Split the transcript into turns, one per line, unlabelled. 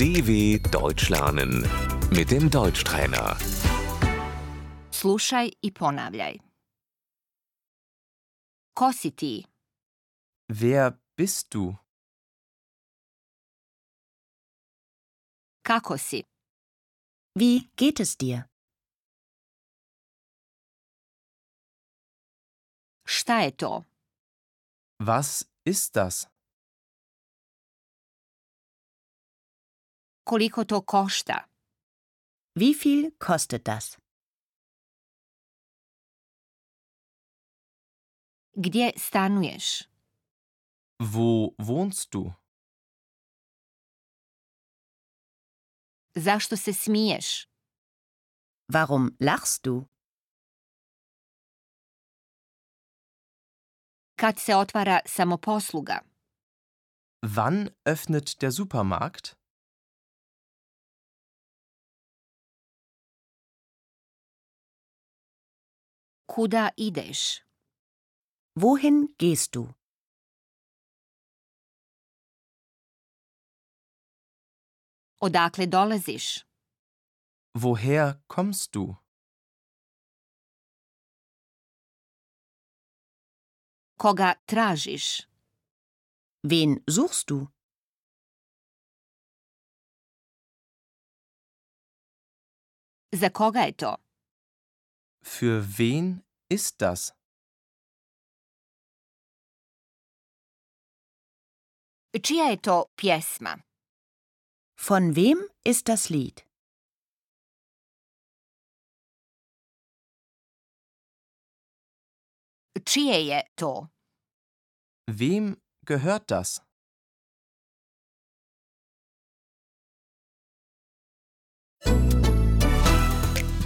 DW Deutsch lernen mit dem Deutschtrainer.
Slušaj i ponavljaj. Ko si ti?
Wer bist du?
Kako si?
Wie geht es dir?
Šta je to?
Was ist das?
Koliko to košta?
Wie viel kostet das?
Gdje stanuješ?
Wo wohnst du?
Zašto se smiješ?
Warum lachst du?
Kad se otvara samoposluga?
Wann öffnet der Supermarkt?
Kuda ideš?
Wohin gehst du?
Odakle dolaziš?
Woher kommst du?
Koga tražiš?
Wen suchst du?
Za koga je to?
Für wen ist das?
Čija je to pjesma?
Von wem ist das Lied?
Čije je to?
Wem gehört das?